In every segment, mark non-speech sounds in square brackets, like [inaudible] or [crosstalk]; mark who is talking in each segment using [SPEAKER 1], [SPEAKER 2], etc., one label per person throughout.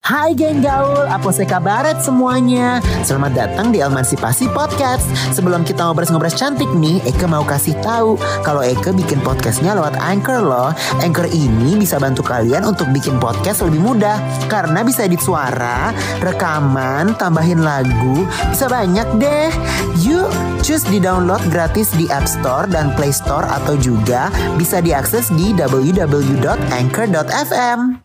[SPEAKER 1] Hai geng gaul, apa kabaret semuanya? Selamat datang di Emansipasi Podcast. Sebelum kita ngobrol-ngobrol cantik nih, Eke mau kasih tahu kalau Eke bikin podcastnya lewat Anchor loh. Anchor ini bisa bantu kalian untuk bikin podcast lebih mudah karena bisa edit suara, rekaman, tambahin lagu, bisa banyak deh. Yuk, cus di download gratis di App Store dan Play Store atau juga bisa diakses di www.anchor.fm.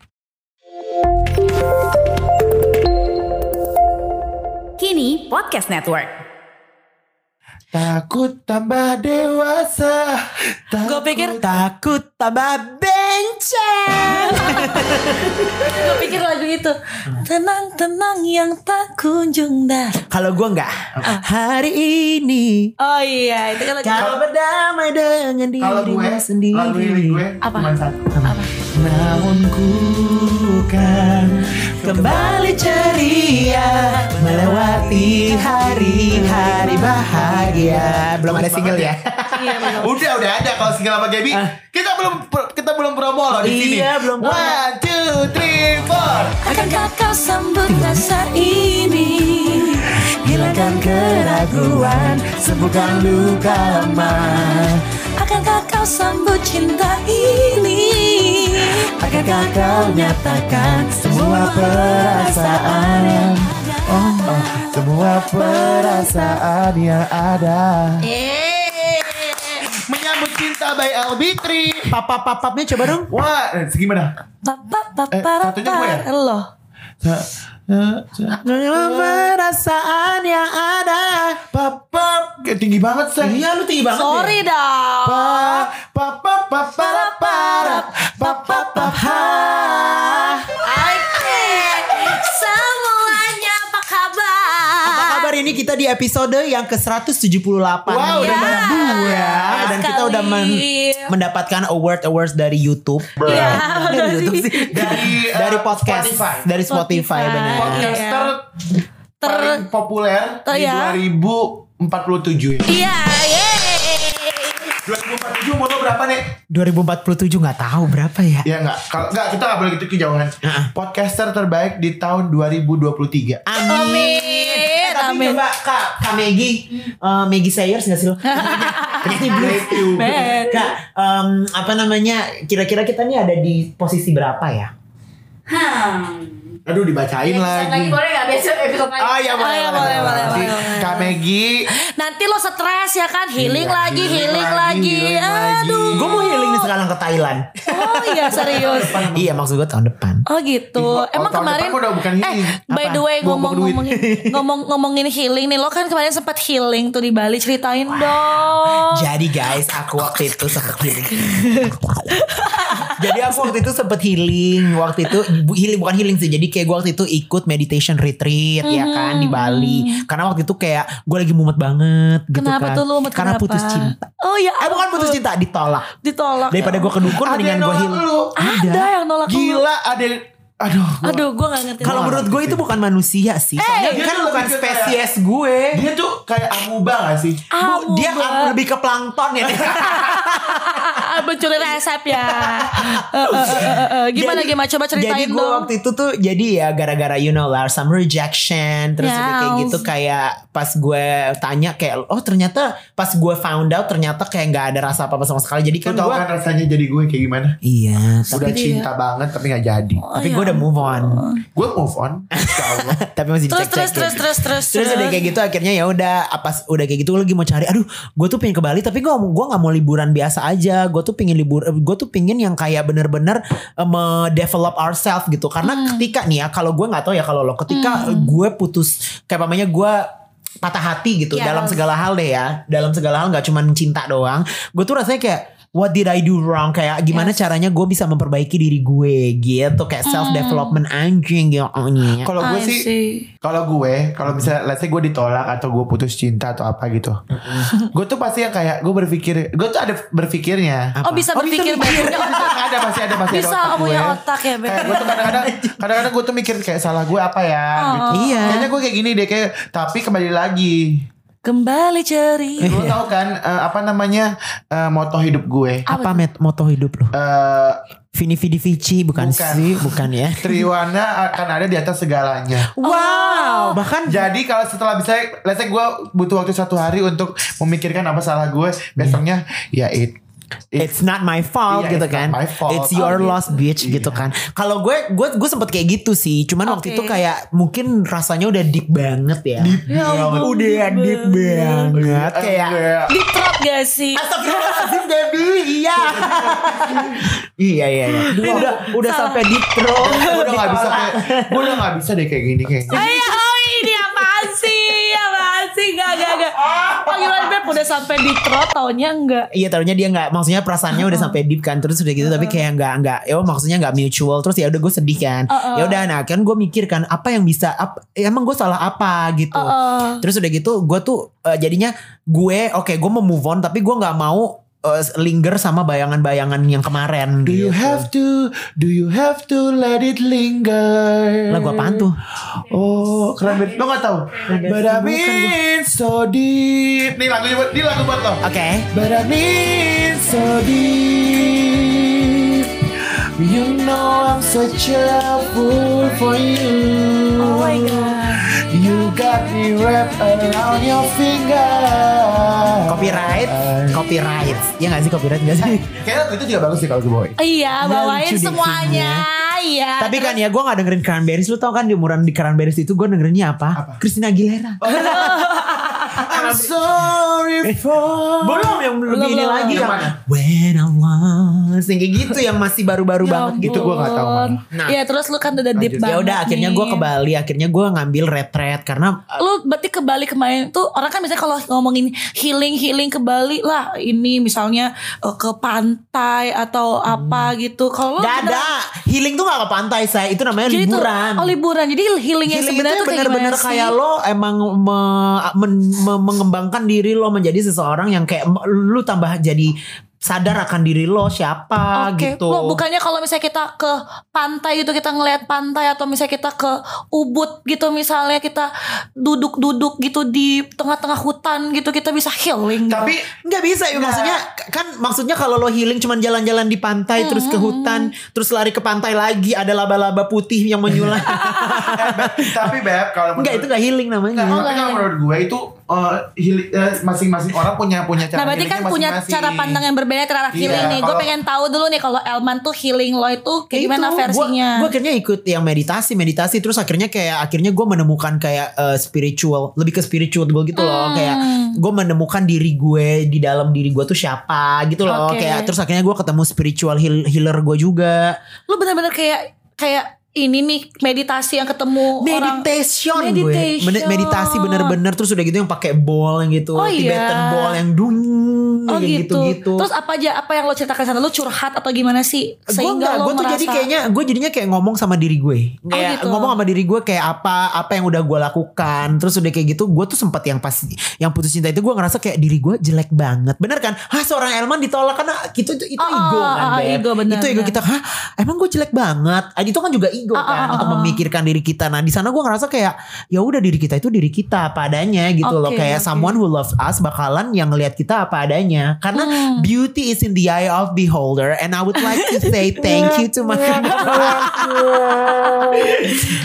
[SPEAKER 2] Kini Podcast Network.
[SPEAKER 3] Takut tambah dewasa.
[SPEAKER 4] Gue pikir
[SPEAKER 1] Takut tambah
[SPEAKER 4] [laughs]
[SPEAKER 1] benceng.
[SPEAKER 4] gue pikir lagu itu tenang tenang yang tak kunjung dar.
[SPEAKER 1] Kalau gue nggak hari ini
[SPEAKER 4] Oh iya itu kan lagu.
[SPEAKER 1] kau berdamai dengan
[SPEAKER 3] kalau gue
[SPEAKER 1] dirimu sendiri.
[SPEAKER 3] lagu ini gue
[SPEAKER 4] Apa?
[SPEAKER 3] cuma satu.
[SPEAKER 1] Namun ku kan kembali ceria melewati hari-hari bahagia. Belum ada single ya?
[SPEAKER 4] Iya, bener.
[SPEAKER 3] Udah udah ada kalau single sama Gaby. Kita belum kita belum promo loh di sini.
[SPEAKER 1] Iya, belum promo.
[SPEAKER 3] One, two, three, four.
[SPEAKER 4] Akankah kau sambut rasa ini?
[SPEAKER 1] Hilangkan keraguan, sembuhkan luka lama.
[SPEAKER 4] Akankah kau sambut cinta ini?
[SPEAKER 1] Akankah kau nyatakan semua perasaan yang
[SPEAKER 4] Oh,
[SPEAKER 3] Semua perasaan yang ada. Menyambut cinta by Albitri. Papa papapnya coba dong. Wah, eh, gimana?
[SPEAKER 4] Papa papa
[SPEAKER 3] Eh, satunya gue ya?
[SPEAKER 4] lo.
[SPEAKER 1] Semua perasaan yang ada
[SPEAKER 3] Papa, kayak tinggi banget sih.
[SPEAKER 1] Iya lu tinggi banget deh.
[SPEAKER 4] Sorry
[SPEAKER 3] ya?
[SPEAKER 4] dong.
[SPEAKER 3] Pa, pa, pa, pa, pa, pa, pa, pa, pa, pa.
[SPEAKER 4] Oke, semuanya apa kabar?
[SPEAKER 1] Apa kabar ini kita di episode yang ke-178
[SPEAKER 3] Wow, udah
[SPEAKER 4] Ya.
[SPEAKER 3] banyak bulan.
[SPEAKER 1] Dan kita
[SPEAKER 4] sekali.
[SPEAKER 1] udah men- mendapatkan award-awards dari Youtube
[SPEAKER 4] Iya,
[SPEAKER 1] Dari
[SPEAKER 4] udah
[SPEAKER 1] Youtube
[SPEAKER 4] sih. [laughs]
[SPEAKER 1] sih Dari,
[SPEAKER 3] Dari, eh,
[SPEAKER 1] dari podcast
[SPEAKER 3] Spotify.
[SPEAKER 1] Dari Spotify,
[SPEAKER 4] Spotify.
[SPEAKER 1] benar.
[SPEAKER 3] Podcaster
[SPEAKER 4] Ter-
[SPEAKER 3] paling populer
[SPEAKER 4] Ter-
[SPEAKER 3] di
[SPEAKER 4] ya.
[SPEAKER 3] 2047 ya.
[SPEAKER 4] Iya, yeay.
[SPEAKER 3] 2047 mau lo berapa nih?
[SPEAKER 1] 2047 nggak tahu berapa ya
[SPEAKER 3] Ya enggak, kalau enggak kita enggak boleh gitu kejauhan. Podcaster terbaik di tahun 2023.
[SPEAKER 1] Amin. Eh, tapi
[SPEAKER 4] Amin.
[SPEAKER 1] coba Kak, Kak Megi, eh, Megi Sayers gak
[SPEAKER 4] [laughs]
[SPEAKER 1] sih lo? Ini blue.
[SPEAKER 3] Thank you.
[SPEAKER 4] Bet.
[SPEAKER 1] Kak, em, apa namanya? Kira-kira kita nih ada di posisi berapa ya?
[SPEAKER 2] Hmm.
[SPEAKER 3] Aduh
[SPEAKER 2] Lagi
[SPEAKER 3] dibacain Iya, lagi.
[SPEAKER 2] boleh gak besok episode lagi?
[SPEAKER 3] Ah ya boleh,
[SPEAKER 4] ya, boleh, boleh, boleh,
[SPEAKER 3] Kak Megi
[SPEAKER 4] Nanti lo stres ya kan, healing lagi, healing lagi.
[SPEAKER 3] Iya, healing lagi.
[SPEAKER 4] Aduh.
[SPEAKER 1] Gue mau healing nih sekarang ke Thailand.
[SPEAKER 4] Oh iya serius.
[SPEAKER 1] iya, maksud gue tahun depan.
[SPEAKER 4] Oh gitu.
[SPEAKER 3] Ih,
[SPEAKER 4] Emang
[SPEAKER 3] tahun
[SPEAKER 4] kemarin
[SPEAKER 3] depan udah bukan
[SPEAKER 4] eh
[SPEAKER 3] healing.
[SPEAKER 4] by
[SPEAKER 1] Apa?
[SPEAKER 4] the way
[SPEAKER 3] Bawa-bawa
[SPEAKER 1] [laughs]
[SPEAKER 4] ngomong ngomongin ngomong ngomongin healing nih. Lo kan kemarin sempat healing tuh di Bali. Ceritain dong.
[SPEAKER 1] Jadi guys, aku waktu itu sempet healing. jadi aku waktu itu sempet healing. Waktu itu bu- healing bukan healing sih. Jadi kayak gue waktu itu ikut meditation retreat ya
[SPEAKER 4] Mm-hmm.
[SPEAKER 1] kan di Bali. Karena waktu itu kayak gue lagi mumet banget gitu
[SPEAKER 4] Kenapa
[SPEAKER 1] kan.
[SPEAKER 4] tuh lo?
[SPEAKER 1] Karena putus cinta.
[SPEAKER 4] Oh ya.
[SPEAKER 1] Eh bukan
[SPEAKER 4] ampun.
[SPEAKER 1] putus cinta, ditolak.
[SPEAKER 4] Ditolak.
[SPEAKER 1] Daripada gue ke dukun
[SPEAKER 3] Ada yang
[SPEAKER 1] mendingan gue
[SPEAKER 3] Ah, nolak
[SPEAKER 1] healing.
[SPEAKER 3] lu.
[SPEAKER 4] Ada yang nolak. lo.
[SPEAKER 3] Gila ada yang- Aduh. gua-
[SPEAKER 4] Aduh, gue gak ngerti.
[SPEAKER 1] Kalau menurut gue itu bukan manusia sih. Soalnya
[SPEAKER 3] dia
[SPEAKER 1] kan
[SPEAKER 3] tuh
[SPEAKER 1] bukan
[SPEAKER 3] lebih ke kayak-
[SPEAKER 1] spesies gue.
[SPEAKER 3] Dia tuh kayak amuba gak sih?
[SPEAKER 4] ah,
[SPEAKER 1] Bu, dia
[SPEAKER 4] Mbak.
[SPEAKER 1] kan lebih ke plankton ya. [laughs]
[SPEAKER 4] Ah, mencuri resep ya. Eh, eh, eh, eh, eh. gimana
[SPEAKER 1] Jadi-
[SPEAKER 4] gimana coba ceritain
[SPEAKER 1] Jadi gue
[SPEAKER 4] dong.
[SPEAKER 1] waktu itu tuh jadi ya gara-gara you know lah some rejection terus
[SPEAKER 4] Ya,
[SPEAKER 1] udah kayak
[SPEAKER 4] Allah.
[SPEAKER 1] gitu kayak pas gue tanya kayak oh ternyata pas gue found out ternyata kayak nggak ada rasa apa-apa sama sekali. Jadi
[SPEAKER 3] Lu
[SPEAKER 1] kan
[SPEAKER 3] tau
[SPEAKER 1] gue
[SPEAKER 3] kan rasanya jadi gue kayak gimana?
[SPEAKER 1] iya
[SPEAKER 3] Udah
[SPEAKER 4] dia-
[SPEAKER 3] cinta banget tapi gak jadi.
[SPEAKER 1] tapi
[SPEAKER 4] ya
[SPEAKER 1] gue udah move on.
[SPEAKER 3] Gue move on. Insya Allah.
[SPEAKER 1] [laughs] tapi masih
[SPEAKER 4] Terus terus
[SPEAKER 1] dicek-cekin.
[SPEAKER 4] terus terus terus.
[SPEAKER 1] Terus udah kayak gitu akhirnya ya udah apa udah kayak gitu gue lagi mau cari aduh gue tuh pengen ke Bali tapi gue gue nggak mau liburan biasa aja gue tuh pengen libur gue tuh pengen yang kayak bener-bener eh, me-develop ourselves gitu karena
[SPEAKER 4] Hmm.
[SPEAKER 1] ketika nih ya kalau gue nggak tahu ya kalau lo ketika gue putus kayak namanya gue patah hati gitu
[SPEAKER 4] Yes.
[SPEAKER 1] dalam segala hal deh ya dalam segala hal nggak cuman cinta doang gue tuh rasanya kayak What did I do wrong? Kayak gimana
[SPEAKER 4] Ya.
[SPEAKER 1] caranya gue bisa memperbaiki diri gue gitu
[SPEAKER 4] Hmm.
[SPEAKER 1] kayak self development anjing gitu.
[SPEAKER 3] Kalau gue
[SPEAKER 4] I
[SPEAKER 3] Ah, iya sih.
[SPEAKER 4] see.
[SPEAKER 3] Kalau gue. Kalau misalnya. Let's say gue ditolak. Atau gue putus cinta. Atau apa gitu. gue tuh pasti yang kayak. Gue berpikir. Gue tuh ada berpikirnya.
[SPEAKER 4] Oh bisa
[SPEAKER 1] Oh, bisa
[SPEAKER 4] berpikir
[SPEAKER 1] mikir.
[SPEAKER 4] punya
[SPEAKER 1] [laughs]
[SPEAKER 4] otak.
[SPEAKER 3] ada pasti ada pasti
[SPEAKER 4] Bisa
[SPEAKER 3] ada otak
[SPEAKER 4] punya
[SPEAKER 3] gue.
[SPEAKER 4] otak ya
[SPEAKER 3] Kayak
[SPEAKER 1] Eh,
[SPEAKER 3] gue
[SPEAKER 4] Beb.
[SPEAKER 3] tuh kadang-kadang kadang-kadang gue tuh
[SPEAKER 4] Oh.
[SPEAKER 3] mikir kayak salah gue apa ya gitu.
[SPEAKER 1] Iya.
[SPEAKER 3] Kayaknya gue kayak gini deh kayak tapi kembali lagi
[SPEAKER 4] Kembali ceri.
[SPEAKER 3] Lo tau kan eh, apa namanya eh, moto hidup gue?
[SPEAKER 1] Apa met moto hidup lo?
[SPEAKER 3] Eh,
[SPEAKER 4] Ah.
[SPEAKER 1] Vini Vidi Vici bukan,
[SPEAKER 3] Bukan.
[SPEAKER 1] sih, bukan ya.
[SPEAKER 3] Triwana akan ada di atas segalanya.
[SPEAKER 1] Wow, bahkan
[SPEAKER 3] Jadi kalau setelah bisa, let's say gue butuh waktu satu hari untuk memikirkan apa salah gue, besoknya ya it, it-
[SPEAKER 1] It's not my fault
[SPEAKER 3] Iya,
[SPEAKER 1] gitu
[SPEAKER 3] it's
[SPEAKER 1] kan.
[SPEAKER 3] not my fault.
[SPEAKER 1] It's your
[SPEAKER 3] Oh, gitu.
[SPEAKER 1] loss bitch gitu kan. Kalau gue gue gue sempet kayak gitu sih. Cuman waktu
[SPEAKER 4] Oke.
[SPEAKER 1] itu kayak mungkin rasanya udah deep banget ya. Deep
[SPEAKER 4] Ya ampun,
[SPEAKER 1] Udah
[SPEAKER 4] deep
[SPEAKER 1] deep banget
[SPEAKER 3] Iya.
[SPEAKER 1] kayak
[SPEAKER 3] Enggak.
[SPEAKER 4] Deep throat gak sih?
[SPEAKER 1] Astagfirullahaladzim Debbie
[SPEAKER 3] [laughs]
[SPEAKER 1] Iya Iya iya iya Udah, udah sampai deep throat
[SPEAKER 3] Gue udah gak bisa kayak, gue udah gak bisa deh kayak gini kayaknya.
[SPEAKER 4] Ayo, oh, ini apaan sih? Apaan sih? Gak, gak, gak. Panggilan Beb udah sampai di throat, taunya enggak.
[SPEAKER 1] Iya taruhnya dia nggak maksudnya perasaannya
[SPEAKER 4] Uh-uh.
[SPEAKER 1] udah sampai deep kan terus udah gitu tapi kayak nggak nggak ya maksudnya nggak mutual terus ya udah gue sedih kan
[SPEAKER 4] Uh-uh.
[SPEAKER 1] ya udah nah kan gue mikir kan apa yang bisa ap- ya emang gue salah apa gitu
[SPEAKER 4] Uh-uh.
[SPEAKER 1] terus udah gitu gue tuh eh, jadinya gue oke gue mau move on tapi gue nggak mau eh, linger sama bayangan-bayangan yang kemarin
[SPEAKER 3] Do you
[SPEAKER 1] gitu.
[SPEAKER 3] have to, do you have to let it linger?
[SPEAKER 1] lagu apaan tuh
[SPEAKER 3] Oh, keren banget. Lo gak tau? But I'm in so deep. Nih lagunya, buat- ini lagu buat lo.
[SPEAKER 1] oke
[SPEAKER 3] But I'm in so deep. You know I'm such a fool for you.
[SPEAKER 4] Oh my God.
[SPEAKER 3] You got me wrapped around your finger.
[SPEAKER 1] copyright copyright ya nggak sih copyright nggak sih
[SPEAKER 3] Kayaknya lagu itu juga bagus sih kalau gue bawain.
[SPEAKER 4] Iya,
[SPEAKER 1] Nggak
[SPEAKER 4] bawain
[SPEAKER 1] lucu deh
[SPEAKER 4] semuanya. Iya.
[SPEAKER 1] Tapi kan ya gue gak dengerin Cranberries Lu tau kan di umuran di Cranberries itu gue dengerinnya apa? Christina Aguilera
[SPEAKER 3] I'm sorry for.
[SPEAKER 1] Belum yang belum
[SPEAKER 4] Belum,
[SPEAKER 1] ini
[SPEAKER 4] belum.
[SPEAKER 1] lagi
[SPEAKER 3] Yang
[SPEAKER 1] yang
[SPEAKER 3] mana?
[SPEAKER 1] When I was Yang kayak gitu yang masih baru-baru
[SPEAKER 4] Ya
[SPEAKER 1] banget gitu
[SPEAKER 3] gitu gua nggak tahu,
[SPEAKER 4] ampun.
[SPEAKER 1] Mama. Nah.
[SPEAKER 4] Iya, terus lu kan udah deep
[SPEAKER 3] Lanjut.
[SPEAKER 4] banget.
[SPEAKER 1] Ya udah akhirnya gue
[SPEAKER 4] nih.
[SPEAKER 1] ke Bali Akhirnya gue ngambil retret Karena
[SPEAKER 4] lu berarti ke Bali kemarin tuh orang kan misalnya kalau ngomongin healing healing ke Bali lah ini misalnya eh, ke pantai atau apa gitu kalau lu
[SPEAKER 1] Gak Hmm. ada
[SPEAKER 4] udah-
[SPEAKER 1] Healing tuh gak ke pantai saya Itu namanya
[SPEAKER 4] jadi tuh-
[SPEAKER 1] liburan
[SPEAKER 4] oh liburan jadi healingnya
[SPEAKER 1] Healing
[SPEAKER 4] sebenarnya
[SPEAKER 1] itu
[SPEAKER 4] tuh kayak
[SPEAKER 1] bener-bener
[SPEAKER 4] gimana
[SPEAKER 1] kayak
[SPEAKER 4] sih?
[SPEAKER 1] lo emang me- men- me- mengembangkan diri lo menjadi seseorang yang kayak em- lu tambah jadi sadar akan diri lo siapa
[SPEAKER 4] Oke,
[SPEAKER 1] gitu.
[SPEAKER 4] Lo bukannya kalau misalnya kita ke pantai gitu kita ngelihat pantai atau misalnya kita ke Ubud gitu misalnya kita duduk-duduk gitu di tengah-tengah hutan gitu kita bisa healing. gitu.
[SPEAKER 3] Tapi
[SPEAKER 1] Nggak bisa ya maksudnya kan maksudnya kalau lo healing cuman jalan-jalan di pantai terus ke hutan terus lari ke pantai lagi ada laba-laba putih yang
[SPEAKER 4] [laughs]
[SPEAKER 1] menyulam. [laughs]
[SPEAKER 3] tapi beb kalau
[SPEAKER 1] Enggak itu
[SPEAKER 3] menurut
[SPEAKER 1] nggak healing namanya.
[SPEAKER 4] Oh,
[SPEAKER 3] Nggak, tapi kalau menurut gue itu eh, hili- eh, masing-masing orang punya punya cara
[SPEAKER 4] Nah berarti kan
[SPEAKER 3] healingnya
[SPEAKER 4] punya
[SPEAKER 3] masing-masing.
[SPEAKER 4] cara pandang yang berbeda terhadap
[SPEAKER 3] Iya,
[SPEAKER 4] healing nih. Gue
[SPEAKER 3] kalau-
[SPEAKER 4] pengen tahu dulu nih kalau Elman tuh healing lo itu kayak gimana versinya?
[SPEAKER 1] Gue gitu. akhirnya ikut yang meditasi, meditasi terus akhirnya kayak akhirnya gue menemukan kayak eh, spiritual, lebih ke spiritual gitu loh, kayak
[SPEAKER 4] Mm.
[SPEAKER 1] gue menemukan diri gue di dalam diri gue tuh siapa gitu loh,
[SPEAKER 4] Oke.
[SPEAKER 1] kayak terus akhirnya gue ketemu spiritual heal- healer gue juga.
[SPEAKER 4] Lo bener-bener kayak kayak ini nih meditasi yang ketemu orang.
[SPEAKER 1] Meditation, gue,
[SPEAKER 4] Meditation.
[SPEAKER 1] Men- meditasi bener-bener terus udah gitu yang pakai ball yang gitu,
[SPEAKER 4] Oh, iya.
[SPEAKER 1] Tibetan ball yang dung,
[SPEAKER 4] Oh
[SPEAKER 1] yang
[SPEAKER 4] gitu.
[SPEAKER 1] gitu-gitu.
[SPEAKER 4] Terus apa aja apa yang lo ceritakan sana? Lo curhat atau gimana sih?
[SPEAKER 1] gue enggak,
[SPEAKER 4] Sehingga lo
[SPEAKER 1] gue tuh
[SPEAKER 4] merasa.
[SPEAKER 1] jadi kayaknya gue jadinya kayak ngomong sama diri gue kayak
[SPEAKER 4] gitu.
[SPEAKER 1] ngomong sama diri gue kayak apa apa yang udah gue lakukan terus udah kayak gitu gue tuh sempat yang pas yang putus cinta itu gue ngerasa kayak diri gue jelek banget bener kan hah seorang Elman ditolak karena itu itu, itu
[SPEAKER 4] Oh,
[SPEAKER 1] ego
[SPEAKER 4] oh,
[SPEAKER 1] kan
[SPEAKER 4] oh,
[SPEAKER 1] Beb.
[SPEAKER 4] ego, bener,
[SPEAKER 1] itu ego
[SPEAKER 4] bener. Oh,
[SPEAKER 1] kita hah emang gue jelek banget Ah, itu kan juga ego kan untuk memikirkan diri kita nah di sana gue ngerasa kayak ya udah diri kita itu diri kita apa adanya gitu loh
[SPEAKER 4] Oke,
[SPEAKER 1] kayak
[SPEAKER 4] oke.
[SPEAKER 1] someone who loves us bakalan yang ngelihat kita apa adanya karena
[SPEAKER 4] Hmm.
[SPEAKER 1] beauty is in the eye of beholder and I would like to say
[SPEAKER 4] [laughs]
[SPEAKER 1] thank you to my
[SPEAKER 4] Iya,
[SPEAKER 1] [laughs]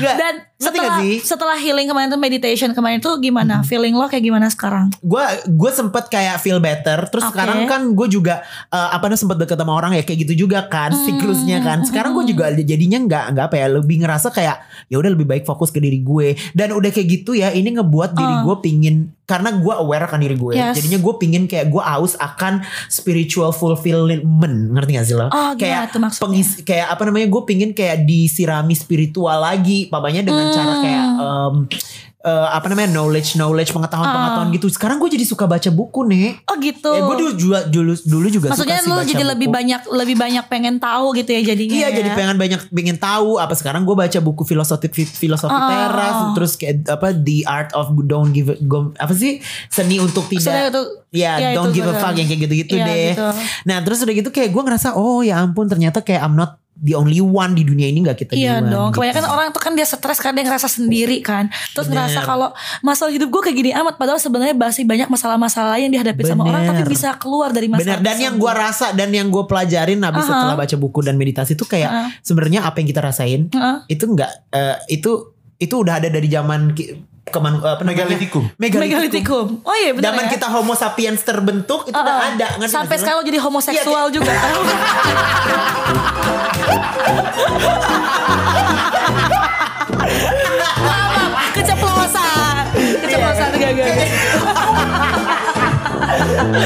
[SPEAKER 1] Nggak,
[SPEAKER 4] Dan
[SPEAKER 1] Eh, ngerti nggak
[SPEAKER 4] setelah
[SPEAKER 1] sih? Hmm.
[SPEAKER 4] setelah healing kemarin tuh meditation kemarin tuh gimana? Feeling lo kayak gimana sekarang?
[SPEAKER 1] gue gue sempet kayak feel better terus
[SPEAKER 4] Oke.
[SPEAKER 1] sekarang kan gue juga eh, apa namanya sempet deket sama orang ya kayak gitu juga kan
[SPEAKER 4] Hmm,
[SPEAKER 1] siklusnya kan sekarang gue juga jadinya nggak nggak apa ya lebih ngerasa kayak ya udah lebih baik fokus ke diri gue dan udah kayak gitu ya ini ngebuat diri gue pingin karena gue aware akan diri gue
[SPEAKER 4] Oh. Yes.
[SPEAKER 1] jadinya gue pingin kayak gue aus akan spiritual fulfillment ngerti gak sih lo
[SPEAKER 4] Oh, gimana
[SPEAKER 1] kayak
[SPEAKER 4] tuh maksudnya?
[SPEAKER 1] pengis- kayak apa namanya gue pingin kayak disirami spiritual lagi papanya dengan cara
[SPEAKER 4] Hmm.
[SPEAKER 1] kayak em, eh, apa namanya knowledge knowledge pengetahuan pengetahuan
[SPEAKER 4] Ah.
[SPEAKER 1] gitu sekarang gue jadi suka baca buku nih
[SPEAKER 4] Oh gitu.
[SPEAKER 1] ya gue dulu juga dulu dulu juga suka
[SPEAKER 4] Maksudnya
[SPEAKER 1] sih
[SPEAKER 4] lo
[SPEAKER 1] baca
[SPEAKER 4] jadi
[SPEAKER 1] buku.
[SPEAKER 4] lebih banyak lebih banyak pengen tahu gitu ya jadinya.
[SPEAKER 1] Iya
[SPEAKER 4] ya?
[SPEAKER 1] jadi pengen banyak pengen tahu apa sekarang gue baca buku filosofi filosofi
[SPEAKER 4] Ah.
[SPEAKER 1] teras terus kayak apa the art of don't give a, go- apa sih seni untuk
[SPEAKER 4] Seni
[SPEAKER 1] tidak
[SPEAKER 4] untuk-
[SPEAKER 1] ya
[SPEAKER 4] ya,
[SPEAKER 1] don't
[SPEAKER 4] itu
[SPEAKER 1] give a
[SPEAKER 4] bener.
[SPEAKER 1] fuck yang kayak gitu gitu
[SPEAKER 4] Iya,
[SPEAKER 1] deh.
[SPEAKER 4] gitu.
[SPEAKER 1] Nah terus udah gitu kayak gue ngerasa oh ya ampun ternyata kayak I'm not the only one di dunia ini nggak kita
[SPEAKER 4] Iya
[SPEAKER 1] duluan,
[SPEAKER 4] dong.
[SPEAKER 1] gitu.
[SPEAKER 4] Kebanyakan orang tuh kan dia stres kadang ngerasa sendiri kan. Terus
[SPEAKER 1] Bener.
[SPEAKER 4] ngerasa kalau masalah hidup gue kayak gini amat padahal sebenarnya masih banyak masalah-masalah yang dihadapi sama orang tapi
[SPEAKER 1] Bener.
[SPEAKER 4] bisa keluar dari masalah.
[SPEAKER 1] Benar dan yang gue rasa dan yang gue pelajarin habis
[SPEAKER 4] Aha.
[SPEAKER 1] setelah baca buku dan meditasi itu kayak
[SPEAKER 4] Aha.
[SPEAKER 1] sebenarnya apa yang kita rasain
[SPEAKER 4] Heeh.
[SPEAKER 1] itu nggak eh, itu itu udah ada dari zaman ki- keman apa namanya?
[SPEAKER 3] Megalitikum.
[SPEAKER 1] Megalitikum.
[SPEAKER 4] Megalitikum. Oh iya benar.
[SPEAKER 1] Zaman
[SPEAKER 4] ya.
[SPEAKER 1] kita Homo sapiens terbentuk itu udah
[SPEAKER 4] Heeh.
[SPEAKER 1] ada ngerti
[SPEAKER 4] Oh,
[SPEAKER 1] nggak sih?
[SPEAKER 4] Sampai
[SPEAKER 1] Iya,
[SPEAKER 4] sekarang lo jadi homoseksual juga. Maaf, keceplosan. Keceplosan
[SPEAKER 1] Iya.
[SPEAKER 4] gak gak. gak.
[SPEAKER 1] Nah,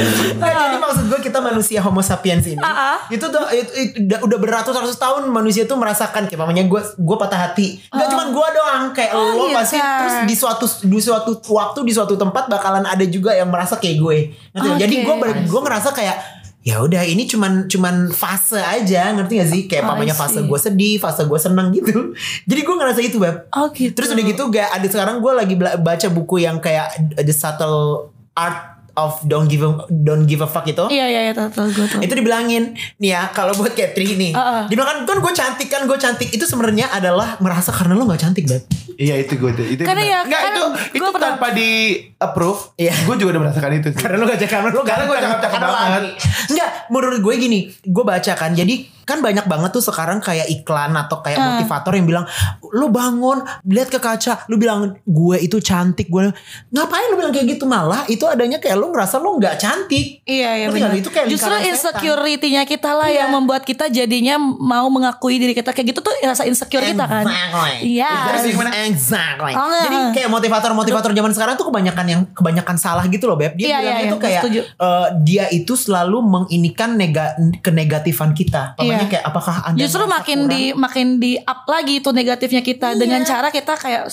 [SPEAKER 1] Jadi maksud gue kita manusia homo sapiens ini
[SPEAKER 4] Iya, Ah,
[SPEAKER 1] itu tuh itu, itu udah, udah beratus-ratus tahun manusia tuh merasakan kayak mamanya gue gue patah hati. Gak cuman gue doang kayak
[SPEAKER 4] Ah. Oh,
[SPEAKER 1] lo
[SPEAKER 4] iya,
[SPEAKER 1] pasti
[SPEAKER 4] Sar.
[SPEAKER 1] terus di suatu di suatu waktu di suatu tempat bakalan ada juga yang merasa kayak gue. Ngerti nggak? Jadi
[SPEAKER 4] Oke.
[SPEAKER 1] gue ber- gue ngerasa kayak ya udah ini cuman cuman fase aja ngerti gak sih kayak
[SPEAKER 4] Oh, I
[SPEAKER 1] mamanya
[SPEAKER 4] see.
[SPEAKER 1] fase gue sedih fase gue seneng gitu [laughs] jadi gue ngerasa itu beb
[SPEAKER 4] Oh gitu.
[SPEAKER 1] Terus udah gitu gak ada sekarang gue lagi bela- baca buku yang kayak The Subtle Art of Don't Give a, Don't Give a Fuck itu.
[SPEAKER 4] Iya iya iya tahu tahu gue tuh.
[SPEAKER 1] Itu dibilangin nih ya kalau buat Catherine nih,
[SPEAKER 4] Uh-uh.
[SPEAKER 1] dibilang kan gue cantik kan gue cantik itu sebenarnya adalah merasa karena lo nggak cantik beb.
[SPEAKER 3] Iya itu gue itu.
[SPEAKER 4] Karena
[SPEAKER 3] benar.
[SPEAKER 4] ya,
[SPEAKER 3] Nggak,
[SPEAKER 4] kan
[SPEAKER 3] itu itu
[SPEAKER 4] gua pernah-
[SPEAKER 3] tanpa di approve.
[SPEAKER 1] Iya.
[SPEAKER 3] Gue juga udah merasakan itu. Sih.
[SPEAKER 1] [laughs]
[SPEAKER 3] Iya,
[SPEAKER 1] Karena lo gak cakap lo
[SPEAKER 3] Karena gue cakep-cakep banget.
[SPEAKER 1] Enggak, menurut gue gini, gue baca kan. Jadi kan banyak banget tuh sekarang kayak iklan atau kayak motivator yang bilang lo bangun, lihat ke kaca, lo bilang gue itu cantik, gue ngapain lo bilang kayak gitu malah itu adanya kayak lo ngerasa lo nggak cantik.
[SPEAKER 4] Iya iya
[SPEAKER 1] Ngerti
[SPEAKER 4] benar.
[SPEAKER 1] nggak? Itu kayak
[SPEAKER 4] Justru
[SPEAKER 1] lingkaran setan. Iya.
[SPEAKER 4] insecurity-nya kita lah yang membuat kita jadinya mau mengakui diri kita kayak gitu tuh rasa insecure kita kan.
[SPEAKER 1] Exactly.
[SPEAKER 4] Iya.
[SPEAKER 1] Terus gimana? Exactly.
[SPEAKER 4] Oh, enggak.
[SPEAKER 1] Jadi kayak motivator-motivator zaman sekarang tuh kebanyakan yang kebanyakan salah gitu loh beb. Dia
[SPEAKER 4] Iya,
[SPEAKER 1] bilangnya
[SPEAKER 4] iya,
[SPEAKER 1] tuh
[SPEAKER 4] iya,
[SPEAKER 1] kayak
[SPEAKER 4] setuju.
[SPEAKER 1] eh, dia itu selalu menginikan nega kenegatifan kita. Pokoknya
[SPEAKER 4] Iya.
[SPEAKER 1] kayak apakah anda
[SPEAKER 4] Justru
[SPEAKER 1] merasa
[SPEAKER 4] makin
[SPEAKER 1] kurang?
[SPEAKER 4] di makin di up lagi tuh negatifnya kita dengan cara kita kayak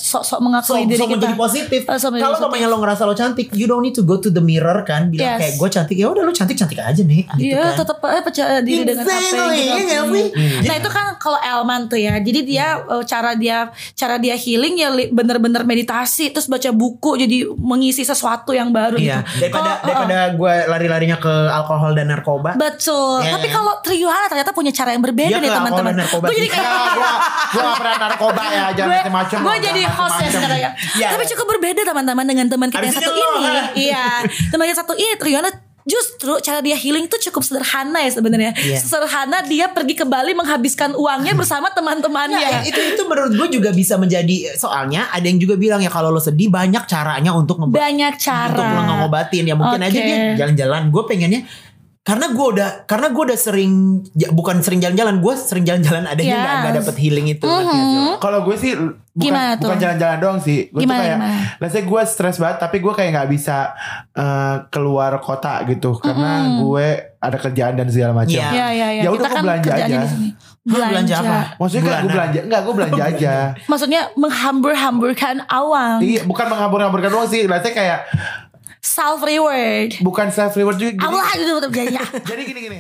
[SPEAKER 1] so,
[SPEAKER 4] sok-sok mengakui diri
[SPEAKER 1] so
[SPEAKER 4] kita.
[SPEAKER 1] menjadi positif.
[SPEAKER 4] Eh, sok menjadi
[SPEAKER 1] Kalau
[SPEAKER 4] positif.
[SPEAKER 1] mamanya lo ngerasa lo cantik, you don't need to go to the mirror kan, bilang
[SPEAKER 4] Yes.
[SPEAKER 1] kayak gue cantik. Ya udah lo cantik cantik aja nih. Gitu
[SPEAKER 4] Iya,
[SPEAKER 1] kan.
[SPEAKER 4] tetap eh, percaya diri dengan apa yang
[SPEAKER 1] Exactly,
[SPEAKER 4] kita
[SPEAKER 1] iya nggak
[SPEAKER 4] punya.
[SPEAKER 1] sih?
[SPEAKER 4] Nah itu kan kalau Elman tuh ya, jadi dia eh, cara dia cara dia healing ya li- bener-bener meditasi, terus baca buku, jadi mengisi sesuatu yang baru.
[SPEAKER 1] Iya.
[SPEAKER 4] gitu.
[SPEAKER 1] Daripada
[SPEAKER 4] Kalau-
[SPEAKER 1] daripada gue lari-larinya ke alkohol dan narkoba.
[SPEAKER 4] Betul.
[SPEAKER 1] Iya,
[SPEAKER 4] Tapi
[SPEAKER 1] kan?
[SPEAKER 4] kalau Triwana ternyata punya cara yang berbeda
[SPEAKER 1] Dia ke
[SPEAKER 4] nih
[SPEAKER 1] alkohol
[SPEAKER 4] teman-teman.
[SPEAKER 1] dan narkoba
[SPEAKER 4] Gue jadi
[SPEAKER 1] sih.
[SPEAKER 4] kayak
[SPEAKER 3] Gue gue gak pernah narkoba ya. Jangan
[SPEAKER 4] gue
[SPEAKER 3] macam-macam.
[SPEAKER 4] gue
[SPEAKER 3] jangan
[SPEAKER 4] jadi host ya
[SPEAKER 3] macem-macem.
[SPEAKER 4] sekarang ya.
[SPEAKER 1] Iya.
[SPEAKER 4] Tapi cukup berbeda teman-teman dengan teman kita yang
[SPEAKER 1] Harusnya
[SPEAKER 4] satu
[SPEAKER 1] lo,
[SPEAKER 4] ini.
[SPEAKER 1] ha?
[SPEAKER 4] Iya. Teman yang satu ini Triwana justru cara dia healing tuh cukup sederhana ya sebenarnya.
[SPEAKER 1] Iya.
[SPEAKER 4] Sederhana dia pergi ke Bali menghabiskan uangnya bersama
[SPEAKER 1] Iya,
[SPEAKER 4] teman-temannya.
[SPEAKER 1] itu itu menurut gue juga bisa menjadi eh, soalnya ada yang juga bilang ya kalau lo sedih banyak caranya untuk ngebuat
[SPEAKER 4] Banyak
[SPEAKER 1] untuk lo
[SPEAKER 4] cara.
[SPEAKER 1] ngobatin ya mungkin aja
[SPEAKER 4] Oke.
[SPEAKER 1] dia jalan-jalan gue pengennya karena gue udah karena gue udah sering ya, bukan sering jalan-jalan gue sering jalan-jalan adanya nggak nggak
[SPEAKER 4] Yes.
[SPEAKER 1] dapet healing itu Mm-hmm.
[SPEAKER 3] Kalau gue sih bukan,
[SPEAKER 4] Gimana tuh?
[SPEAKER 3] bukan jalan-jalan doang sih. Gue
[SPEAKER 4] Gimana,
[SPEAKER 3] tuh kayak,
[SPEAKER 4] gimana?
[SPEAKER 3] let's say gue stres banget, tapi gue kayak nggak bisa eh, keluar kota gitu karena gue ada kerjaan dan segala macam.
[SPEAKER 1] Iya.
[SPEAKER 4] Iya iya iya.
[SPEAKER 3] Ya
[SPEAKER 4] Kita
[SPEAKER 3] udah gue
[SPEAKER 4] kan
[SPEAKER 3] belanja
[SPEAKER 4] kerjaannya
[SPEAKER 3] aja.
[SPEAKER 4] di sini.
[SPEAKER 1] Lu belanja apa?
[SPEAKER 3] Maksudnya kan gue
[SPEAKER 1] Bulanan.
[SPEAKER 3] belanja, enggak gue
[SPEAKER 4] Oh,
[SPEAKER 3] belanja aja.
[SPEAKER 4] Maksudnya menghambur-hamburkan awang.
[SPEAKER 3] Iya, bukan menghambur-hamburkan doang sih. Let's say kayak
[SPEAKER 4] Self reward.
[SPEAKER 3] bukan self reward juga. Gini,
[SPEAKER 4] Allah itu tetap jaya.
[SPEAKER 3] jadi gini-gini.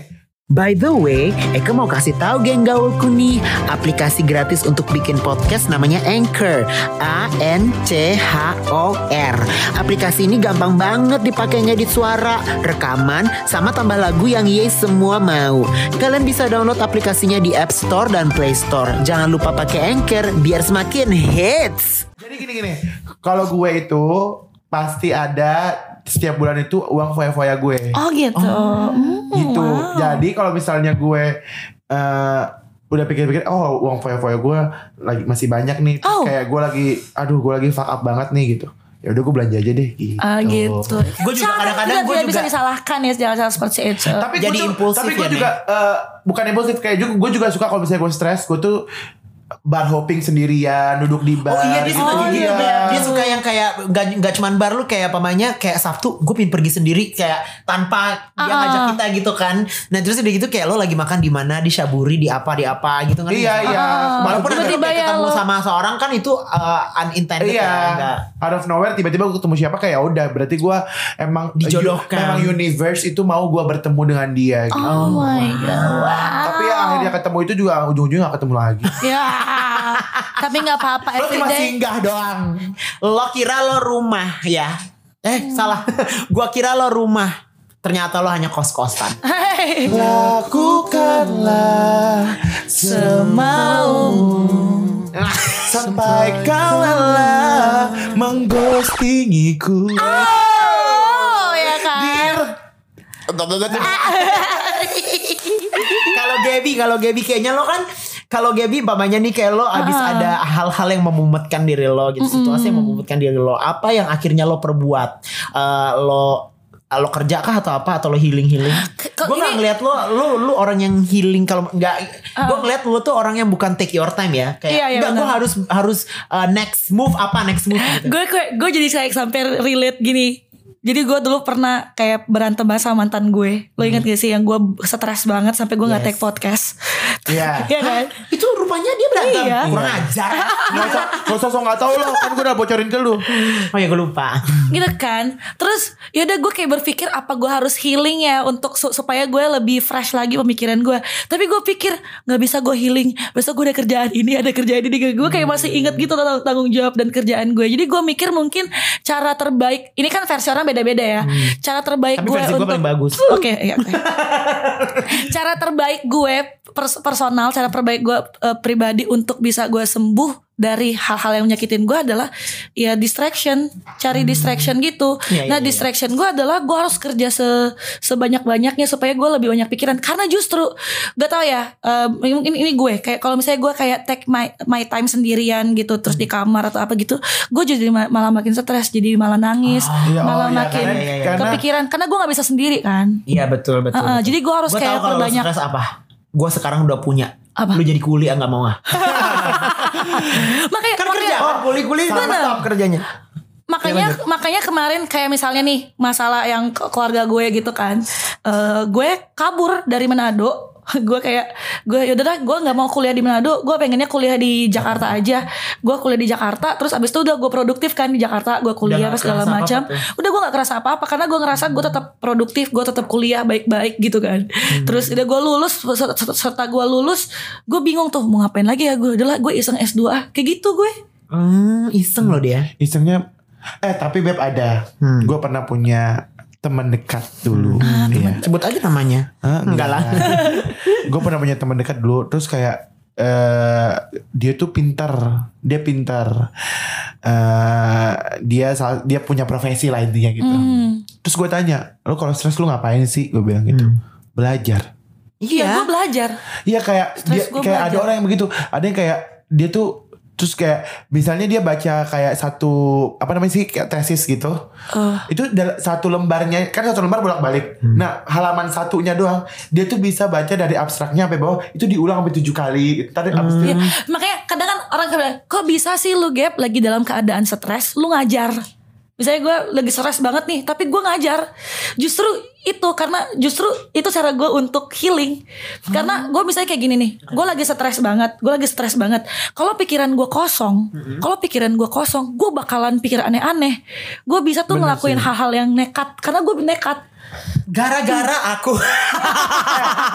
[SPEAKER 5] By the way, Eka mau kasih tahu geng gaulku nih, aplikasi gratis untuk bikin podcast namanya Anchor. A N C H O R. Aplikasi ini gampang banget dipakai ngedit suara, rekaman, sama tambah lagu yang ye semua mau. Kalian bisa download aplikasinya di App Store dan Play Store. Jangan lupa pakai Anchor biar semakin hits.
[SPEAKER 3] Jadi gini gini, kalau gue itu pasti ada setiap bulan itu uang foya-foya gue.
[SPEAKER 4] Oh gitu. Hmm,
[SPEAKER 3] gitu.
[SPEAKER 4] wow.
[SPEAKER 3] Jadi kalau misalnya gue eh udah pikir-pikir, oh uang foya-foya gue lagi masih banyak nih. Terus
[SPEAKER 4] Oh.
[SPEAKER 3] Kayak gue lagi, aduh gue lagi fuck up banget nih gitu. Ya udah gue belanja aja deh gitu.
[SPEAKER 4] Ah gitu.
[SPEAKER 1] Gua juga
[SPEAKER 4] Cara
[SPEAKER 1] kadang-kadang
[SPEAKER 4] tidak-
[SPEAKER 1] gua
[SPEAKER 4] tidak bisa
[SPEAKER 1] juga-
[SPEAKER 4] disalahkan ya cara-cara seperti itu.
[SPEAKER 3] Tapi
[SPEAKER 1] Jadi
[SPEAKER 3] gue
[SPEAKER 1] impulsif
[SPEAKER 3] tapi gue
[SPEAKER 1] ya,
[SPEAKER 3] juga eh, bukan impulsif kayak juga gue juga suka kalau misalnya gue stres, gue tuh bar hopping sendirian, duduk di bar.
[SPEAKER 1] Oh iya dia suka
[SPEAKER 3] gitu.
[SPEAKER 1] kayak gitu.
[SPEAKER 3] Iya.
[SPEAKER 1] Beb. Dia suka yang kayak gak, gak cuman bar lu kayak pamannya kayak Sabtu gue pin pergi sendiri kayak tanpa dia
[SPEAKER 4] Ah.
[SPEAKER 1] ngajak kita gitu kan. Nah terus udah gitu kayak lo lagi makan di mana di Syaburi di apa di apa gitu kan.
[SPEAKER 3] Iya iya.
[SPEAKER 1] Walaupun
[SPEAKER 3] Maksud
[SPEAKER 1] tiba
[SPEAKER 3] gue-
[SPEAKER 4] Tiba-tiba ya
[SPEAKER 1] ketemu
[SPEAKER 4] lo-
[SPEAKER 1] sama seorang kan itu uh, unintended
[SPEAKER 3] Iya.
[SPEAKER 1] ya, enggak.
[SPEAKER 3] Out of nowhere tiba-tiba gue ketemu siapa kayak ya udah berarti gue emang
[SPEAKER 1] Dijodohkan.
[SPEAKER 3] Memang universe itu mau gue bertemu dengan dia. Gitu.
[SPEAKER 4] oh my god. Wow.
[SPEAKER 3] Tapi ya, akhirnya ketemu itu juga ujung-ujungnya gak ketemu lagi.
[SPEAKER 4] Ya. Tapi nggak apa-apa.
[SPEAKER 1] Lo
[SPEAKER 4] every
[SPEAKER 1] cuma
[SPEAKER 4] day.
[SPEAKER 1] singgah doang. Lo kira lo rumah ya. Eh
[SPEAKER 4] Hmm.
[SPEAKER 1] salah. [laughs] Gua kira lo rumah. Ternyata lo hanya kos-kosan.
[SPEAKER 4] Hey.
[SPEAKER 3] Lakukanlah
[SPEAKER 4] semaumu
[SPEAKER 3] Sampai kau lelah mengghostingiku
[SPEAKER 4] Oh ya kan
[SPEAKER 1] kalau Gaby kalau Gaby kayaknya lo kan kalau Gaby umpamanya nih kayak lo abis ada hal-hal yang memumetkan diri lo gitu situasi yang memumetkan diri lo apa yang akhirnya lo perbuat Eh, lo lo kerja kah atau apa atau lo healing healing
[SPEAKER 4] kok
[SPEAKER 1] gue nggak
[SPEAKER 4] ini-
[SPEAKER 1] ngeliat lo lo lo orang yang healing kalau nggak gue ngeliat lo tuh orang yang bukan take your time ya kayak
[SPEAKER 4] Iya, iya,
[SPEAKER 1] nggak gue
[SPEAKER 4] benar.
[SPEAKER 1] harus harus eh, next move apa next move gitu
[SPEAKER 4] gue gue gue jadi kayak sampai relate gini jadi gue dulu pernah kayak berantem bahasa mantan gue lo ingat gak sih yang gue stres banget sampai gue nggak
[SPEAKER 1] Hmm. Yes.
[SPEAKER 4] take podcast
[SPEAKER 3] Iya.
[SPEAKER 4] [laughs] Iya kan
[SPEAKER 1] itu rupanya dia berantem
[SPEAKER 4] Iya.
[SPEAKER 1] kurang ajar
[SPEAKER 4] [laughs]
[SPEAKER 3] Gak usah, gak usah sok gak tau lo Kan gue udah bocorin ke lu
[SPEAKER 1] oh ya gue lupa
[SPEAKER 4] gitu kan terus yaudah gue kayak berpikir apa gue harus healing ya untuk su- supaya gue lebih fresh lagi pemikiran gue tapi gue pikir nggak bisa gue healing besok gue ada kerjaan ini ada kerjaan ini gue kayak
[SPEAKER 1] Hmm.
[SPEAKER 4] masih inget gitu tentang tanggung jawab dan kerjaan gue jadi gue mikir mungkin cara terbaik ini kan versi orang beda-beda ya cara terbaik
[SPEAKER 1] Hmm. Tapi
[SPEAKER 4] gue
[SPEAKER 1] versi kan gue
[SPEAKER 4] untuk
[SPEAKER 1] paling bagus.
[SPEAKER 4] oke iya, oke. [laughs] cara terbaik gue pers- personal cara terbaik gue eh, pribadi untuk bisa gue sembuh dari hal-hal yang menyakitin gue adalah ya distraction cari distraction gitu
[SPEAKER 1] Hmm. Iya, iya,
[SPEAKER 4] nah
[SPEAKER 1] iya.
[SPEAKER 4] distraction gue adalah gue harus kerja se- sebanyak-banyaknya supaya gue lebih banyak pikiran karena justru gak tau ya eh, mungkin ini gue kayak kalau misalnya gue kayak take my my time sendirian gitu terus di
[SPEAKER 1] Hmm.
[SPEAKER 4] kamar atau apa gitu gue jadi ma- malah makin stres jadi malah nangis
[SPEAKER 3] iya, oh,
[SPEAKER 4] malah
[SPEAKER 3] iya,
[SPEAKER 4] makin
[SPEAKER 3] karena- iya, iya. Karena-
[SPEAKER 4] kepikiran karena gue nggak bisa sendiri kan
[SPEAKER 1] Iya betul betul.
[SPEAKER 4] Heeh,
[SPEAKER 1] betul.
[SPEAKER 4] jadi gua harus
[SPEAKER 1] Gua
[SPEAKER 4] kayak
[SPEAKER 1] tahu kalau lu
[SPEAKER 4] perbanyak-
[SPEAKER 1] stres apa? Gue sekarang udah punya.
[SPEAKER 4] Apa?
[SPEAKER 1] Lu jadi kuli ah nggak mau ah?
[SPEAKER 4] makanya
[SPEAKER 1] Kan
[SPEAKER 4] makanya-
[SPEAKER 1] kerja kan kuli kuli sama
[SPEAKER 4] Bener.
[SPEAKER 1] top kerjanya.
[SPEAKER 4] makanya makanya kemarin kayak misalnya nih masalah yang ke- keluarga gue gitu kan Eh, gue kabur dari Manado [laughs] gue kayak gue yaudah dah gue nggak mau kuliah di Manado gue pengennya kuliah di Jakarta aja gue kuliah di Jakarta terus abis itu udah gue produktif kan di Jakarta gue kuliah
[SPEAKER 1] Udah nggak
[SPEAKER 4] pas segala
[SPEAKER 1] kerasa
[SPEAKER 4] macam
[SPEAKER 1] apa-apa
[SPEAKER 4] udah gue nggak kerasa apa-apa karena gue ngerasa gue tetap produktif gue tetap kuliah baik-baik gitu kan
[SPEAKER 1] Hmm.
[SPEAKER 4] terus udah gue lulus ser- ser- serta gue lulus gue bingung tuh mau ngapain lagi ya gue udahlah gue iseng S2 ah kayak gitu gue
[SPEAKER 1] Hmm, iseng loh dia.
[SPEAKER 3] Isengnya Eh tapi Beb ada
[SPEAKER 1] Hmm.
[SPEAKER 3] Gue pernah punya teman dekat dulu
[SPEAKER 4] Ah,
[SPEAKER 3] Iya.
[SPEAKER 1] Sebut aja namanya.
[SPEAKER 3] Hah,
[SPEAKER 1] Enggak
[SPEAKER 3] [laughs]
[SPEAKER 1] lah.
[SPEAKER 3] gue pernah punya teman dekat dulu terus kayak eh dia tuh pintar dia pintar eh dia sal- dia punya profesi lah intinya gitu
[SPEAKER 4] Hmm.
[SPEAKER 3] terus gue tanya lo kalau stres lo ngapain sih gue bilang gitu belajar
[SPEAKER 4] iya gue belajar
[SPEAKER 3] iya kayak dia,
[SPEAKER 4] Stres
[SPEAKER 3] kayak
[SPEAKER 4] gua
[SPEAKER 3] ada
[SPEAKER 4] belajar.
[SPEAKER 3] orang yang begitu ada yang kayak dia tuh terus kayak misalnya dia baca kayak satu apa namanya sih kayak tesis gitu
[SPEAKER 4] Eh.
[SPEAKER 3] itu dal- satu lembarnya kan satu lembar bolak balik
[SPEAKER 4] Hmm.
[SPEAKER 3] nah halaman satunya doang dia tuh bisa baca dari abstraknya sampai bawah itu diulang sampai tujuh kali tadi abis itu
[SPEAKER 4] Iya, makanya kadang kan orang kayak bilang, kok bisa sih lu gap lagi dalam keadaan stres, lu ngajar. Misalnya gue lagi stres banget nih, tapi gue ngajar. Justru itu karena justru itu cara gue untuk healing. Karena gue misalnya kayak gini nih, gue lagi stres banget, gue lagi stres banget. Kalau pikiran gue kosong, kalau pikiran gue kosong, gue bakalan pikir aneh-aneh. Gue bisa tuh ngelakuin hal-hal yang nekat, karena gue nekat.
[SPEAKER 1] Gara-gara
[SPEAKER 4] [laughs]
[SPEAKER 1] aku.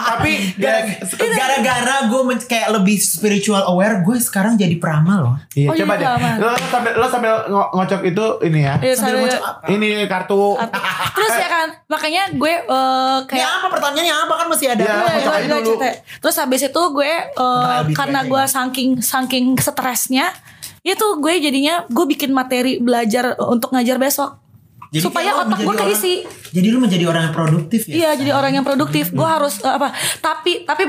[SPEAKER 1] Tapi gara- gara-gara gue kayak lebih spiritual aware, gue sekarang jadi peramal loh.
[SPEAKER 3] iya
[SPEAKER 4] Oh,
[SPEAKER 3] coba
[SPEAKER 4] iya,
[SPEAKER 3] deh
[SPEAKER 4] lama.
[SPEAKER 3] lo sambil lo sambil ngo- ngocok itu ini ya
[SPEAKER 4] Iya, sambil
[SPEAKER 3] ngocok
[SPEAKER 4] ngocok
[SPEAKER 3] ini kartu
[SPEAKER 4] [laughs] Terus ya kan, makanya gue eh,
[SPEAKER 1] Ini
[SPEAKER 4] kayak
[SPEAKER 1] apa pertanyaannya apa kan masih ada.
[SPEAKER 3] Iya,
[SPEAKER 4] Iya,
[SPEAKER 3] Kocok
[SPEAKER 4] gua-
[SPEAKER 3] aja
[SPEAKER 4] gua
[SPEAKER 3] dulu.
[SPEAKER 4] cerita. Terus habis itu gue eh,
[SPEAKER 1] LBT
[SPEAKER 4] karena
[SPEAKER 1] aja
[SPEAKER 4] gue
[SPEAKER 1] ya.
[SPEAKER 4] saking saking stresnya itu gue jadinya gue bikin materi belajar untuk ngajar besok.
[SPEAKER 1] Jadi kayak
[SPEAKER 4] supaya
[SPEAKER 1] lo
[SPEAKER 4] otak gue
[SPEAKER 1] menjadi
[SPEAKER 4] keisi.
[SPEAKER 1] orang- jadi lu menjadi orang yang produktif ya.
[SPEAKER 4] Iya, jadi orang yang produktif.
[SPEAKER 1] Hmm.
[SPEAKER 4] Gue harus eh, apa? Tapi tapi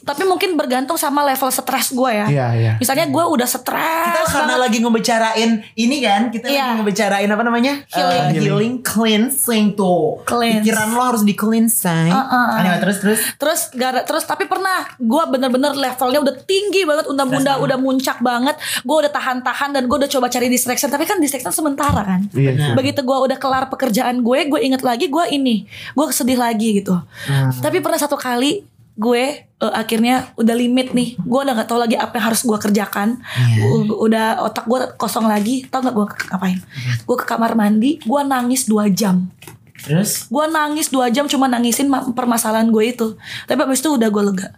[SPEAKER 4] tapi mungkin bergantung sama level stres gue ya.
[SPEAKER 3] Iya, iya.
[SPEAKER 4] Misalnya gue udah
[SPEAKER 1] kita
[SPEAKER 4] stres
[SPEAKER 1] karena
[SPEAKER 4] banget.
[SPEAKER 1] lagi ngebicarain ini kan kita lagi
[SPEAKER 4] Iya.
[SPEAKER 1] ngebicarain apa namanya
[SPEAKER 4] Healing.
[SPEAKER 1] Eh, healing cleansing tuh
[SPEAKER 4] Cleanse. Uh,
[SPEAKER 1] pikiran lo harus di cleansing terus terus
[SPEAKER 4] Terus gara terus tapi pernah gue bener-bener levelnya udah tinggi banget, udah bunda udah muncak banget. Gue udah tahan-tahan dan gue udah coba cari distraction, tapi kan distraction sementara kan.
[SPEAKER 3] iya sih.
[SPEAKER 4] Begitu gue udah kelar pekerjaan gue, gue inget lagi gue ini, gue sedih lagi gitu. Tapi pernah satu kali gue eh, akhirnya udah limit nih, gue udah nggak tahu lagi apa yang harus gue kerjakan, U- udah otak gue kosong lagi, tau nggak gue ke- ngapain? Gue ke kamar mandi, gue nangis dua jam.
[SPEAKER 1] terus
[SPEAKER 4] Gue nangis dua jam cuma nangisin ma- permasalahan gue itu. Tapi abis itu udah gue lega.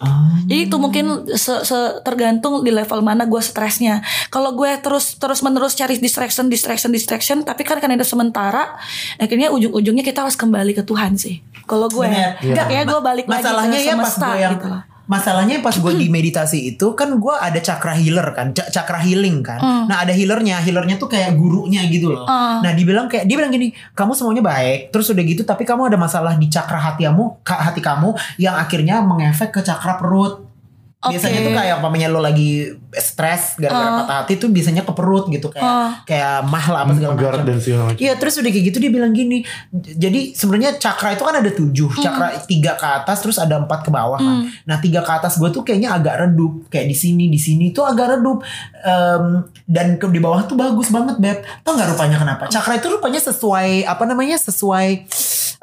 [SPEAKER 1] oh.
[SPEAKER 4] Jadi itu mungkin se- se- tergantung di level mana gue stresnya. Kalau gue terus terus menerus cari distraction, distraction, distraction, tapi kan karena itu sementara, akhirnya ujung-ujungnya kita harus kembali ke Tuhan sih. Kalau gue,
[SPEAKER 1] Bener.
[SPEAKER 4] enggak ya gue balik lagi
[SPEAKER 1] Iya. masalahnya
[SPEAKER 4] ke
[SPEAKER 1] ya pas
[SPEAKER 4] semesta
[SPEAKER 1] gue yang
[SPEAKER 4] gitu lah.
[SPEAKER 1] masalahnya pas gue di meditasi itu kan gue ada cakra healer kan, ca- cakra healing kan.
[SPEAKER 4] Hmm.
[SPEAKER 1] Nah ada healernya, healernya tuh kayak gurunya gitu loh. Nah dibilang kayak dia bilang gini, kamu semuanya baik, terus udah gitu tapi kamu ada masalah di cakra hati kamu, ka- hati kamu yang akhirnya mengefek ke cakra perut. Biasanya
[SPEAKER 4] Oke. Hmm.
[SPEAKER 1] tuh kayak umpamanya lo lagi stres gara-gara patah hati tuh biasanya ke perut gitu kayak kayak mahla apa segala
[SPEAKER 3] Menggarap
[SPEAKER 1] macam.
[SPEAKER 3] dan segala macam.
[SPEAKER 1] Iya terus udah kayak gitu dia bilang gini j- Jadi sebenarnya cakra itu kan ada tujuh
[SPEAKER 4] Hmm.
[SPEAKER 1] Cakra tiga ke atas terus ada empat ke bawah kan Nah tiga ke atas gue tuh kayaknya agak redup Kayak di sini di sini tuh agak redup Em, Dan ke di bawah tuh bagus banget Beb Tau gak rupanya kenapa Cakra itu rupanya sesuai Apa namanya sesuai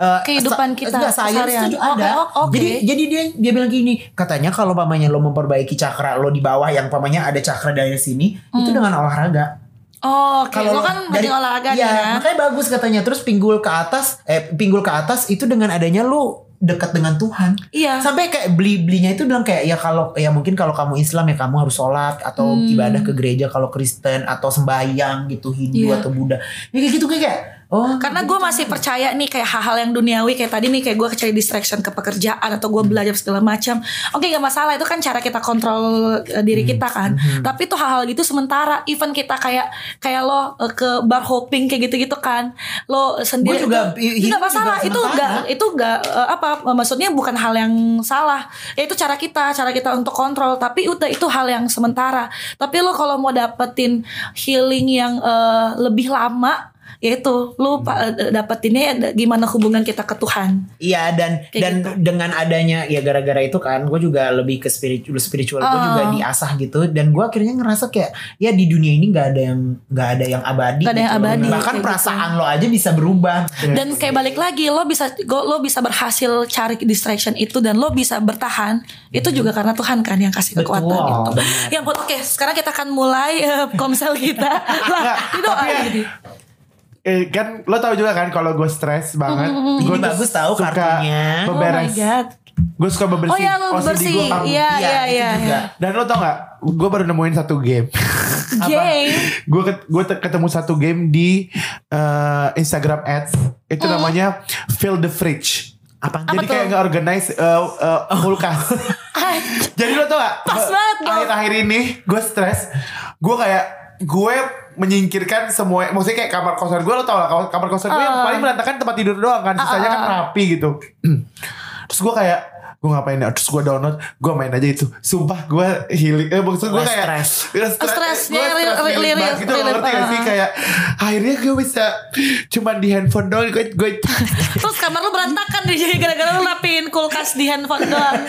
[SPEAKER 1] eh,
[SPEAKER 4] Kehidupan
[SPEAKER 1] sa-
[SPEAKER 4] kita,
[SPEAKER 1] enggak, science
[SPEAKER 4] keseharian.
[SPEAKER 1] tuh ada
[SPEAKER 4] Oke, oke.
[SPEAKER 1] Jadi jadi dia dia bilang gini Katanya kalau mamanya lo memperbaiki cakra lo di bawah Yang mamanya ada cakra dari sini
[SPEAKER 4] Hmm.
[SPEAKER 1] Itu dengan olahraga
[SPEAKER 4] Oh, oke. Lo kan
[SPEAKER 1] dari-
[SPEAKER 4] dari olahraga
[SPEAKER 1] iya,
[SPEAKER 4] ya.
[SPEAKER 1] makanya bagus katanya. Terus pinggul ke atas, eh pinggul ke atas itu dengan adanya lu dekat dengan Tuhan.
[SPEAKER 4] Iya.
[SPEAKER 1] Sampai kayak beli belinya itu bilang kayak ya kalau ya mungkin kalau kamu Islam ya kamu harus sholat atau
[SPEAKER 4] Hmm.
[SPEAKER 1] ibadah ke gereja kalau Kristen atau sembahyang gitu Hindu
[SPEAKER 4] Iya.
[SPEAKER 1] atau Buddha. Ya kayak gitu kayak, kayak oh
[SPEAKER 4] Karena gue masih percaya nih kayak hal-hal yang duniawi kayak tadi nih kayak gue cari distraction ke pekerjaan atau gue belajar segala macam. Oke nggak masalah itu kan cara kita kontrol eh, diri kita kan. Tapi itu hal-hal gitu sementara. Even kita kayak kayak lo eh, ke bar hopping kayak gitu-gitu kan. Lo sendiri
[SPEAKER 1] Gua juga, i-
[SPEAKER 4] itu
[SPEAKER 1] hidup
[SPEAKER 4] nggak masalah.
[SPEAKER 1] juga
[SPEAKER 4] Itu
[SPEAKER 1] sementara.
[SPEAKER 4] nggak itu nggak eh, apa maksudnya bukan hal yang salah. Ya itu cara kita cara kita untuk kontrol. Tapi udah itu hal yang sementara. Tapi lo kalau mau dapetin healing yang eh, lebih lama yaitu lu pa- dapetinnya ya da- gimana hubungan kita ke Tuhan.
[SPEAKER 1] Iya dan
[SPEAKER 4] Kayak gitu.
[SPEAKER 1] dan dengan adanya ya gara-gara itu kan gue juga lebih ke spiritual spiritual gue juga
[SPEAKER 4] Oh.
[SPEAKER 1] diasah gitu dan gue akhirnya ngerasa kayak ya di dunia ini nggak ada yang nggak ada yang abadi
[SPEAKER 4] Nggak ada yang
[SPEAKER 1] gitu loh.
[SPEAKER 4] abadi,
[SPEAKER 1] bahkan
[SPEAKER 4] kayak
[SPEAKER 1] perasaan lo aja bisa berubah
[SPEAKER 4] Dan kayak balik lagi lo bisa go- lo bisa berhasil cari distraction itu dan lo bisa bertahan itu juga karena Tuhan kan yang kasih
[SPEAKER 1] Betul,
[SPEAKER 4] kekuatan itu.
[SPEAKER 1] benar.
[SPEAKER 4] Yang oke, sekarang kita akan mulai eh, komsel
[SPEAKER 1] [laughs]
[SPEAKER 4] kita. lah, itu
[SPEAKER 3] tapi ya, Eh, kan lo tau juga kan kalau gue stres banget,
[SPEAKER 4] Hmm,
[SPEAKER 3] gue
[SPEAKER 1] Ini bagus tau kartunya.
[SPEAKER 4] Oh my
[SPEAKER 3] Beberes.
[SPEAKER 4] God.
[SPEAKER 3] gue suka bebersih.
[SPEAKER 4] Oh ya lo
[SPEAKER 3] OCD
[SPEAKER 4] bersih.
[SPEAKER 3] gua kamu.
[SPEAKER 4] Iya, iya,
[SPEAKER 1] itu
[SPEAKER 4] iya.
[SPEAKER 1] juga.
[SPEAKER 4] iya.
[SPEAKER 3] Dan lo tau gak? Gue baru nemuin satu game. [laughs]
[SPEAKER 4] Jay.
[SPEAKER 3] gue gue ketemu satu game di eh, Instagram ads. Itu namanya Fill the Fridge.
[SPEAKER 1] Apa?
[SPEAKER 4] Mm-hmm. Apa
[SPEAKER 3] Jadi kayak
[SPEAKER 4] tuh? Ah,
[SPEAKER 3] nge-organize eh, eh,
[SPEAKER 4] [laughs]
[SPEAKER 3] kulkas. Jadi lo tau gak?
[SPEAKER 4] Pas
[SPEAKER 3] Gua-
[SPEAKER 4] banget, Bang.
[SPEAKER 3] Akhir-akhir ini gue stres. Gue kayak gue menyingkirkan semua maksudnya kayak kamar kosan gue lo tau lah kamar- kamar kosan gue yang
[SPEAKER 4] Ah.
[SPEAKER 3] paling berantakan tempat tidur doang kan sisanya kan rapi gitu [clears throat] terus gue kayak gue ngapain ya terus gue download gue main aja itu sumpah gue healing eh, maksud gue
[SPEAKER 1] Gua
[SPEAKER 3] kayak
[SPEAKER 1] stres.
[SPEAKER 3] Gua
[SPEAKER 4] Oh, stressnya
[SPEAKER 3] gua
[SPEAKER 4] real-
[SPEAKER 3] stres healing
[SPEAKER 4] real-
[SPEAKER 3] banget
[SPEAKER 4] real-
[SPEAKER 3] gitu, lo
[SPEAKER 4] real-
[SPEAKER 3] ngerti gak sih
[SPEAKER 4] ah.
[SPEAKER 3] kayak akhirnya gue bisa cuman di handphone doang gue
[SPEAKER 4] [laughs]
[SPEAKER 3] gue
[SPEAKER 4] [laughs] Terus kamar lu berantakan deh jadi gara-gara lu lapin kulkas di handphone doang.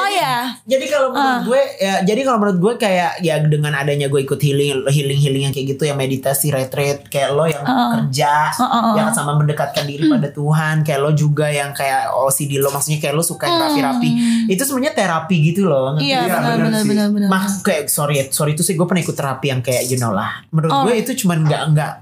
[SPEAKER 4] Oh ya.
[SPEAKER 1] Nah, Jadi kalau menurut gue ya, jadi kalau menurut gue kayak ya dengan adanya gue ikut healing healing healing yang kayak gitu ya meditasi retreat kayak lo yang
[SPEAKER 4] Ah.
[SPEAKER 1] kerja yang sama mendekatkan diri pada
[SPEAKER 4] Hmm.
[SPEAKER 1] Tuhan kayak lo juga yang kayak OCD lo maksudnya kayak lo suka yang rapi-rapi itu sebenarnya terapi gitu loh ngerti
[SPEAKER 4] Hmm. Iya,
[SPEAKER 1] nggak?
[SPEAKER 4] benar
[SPEAKER 3] benar
[SPEAKER 4] benar
[SPEAKER 3] sih.
[SPEAKER 4] benar benar.
[SPEAKER 1] Mak kayak sorry sorry itu sih gue pernah ikut terapi yang kayak you know lah menurut
[SPEAKER 4] Oh.
[SPEAKER 1] gue itu cuman nggak nggak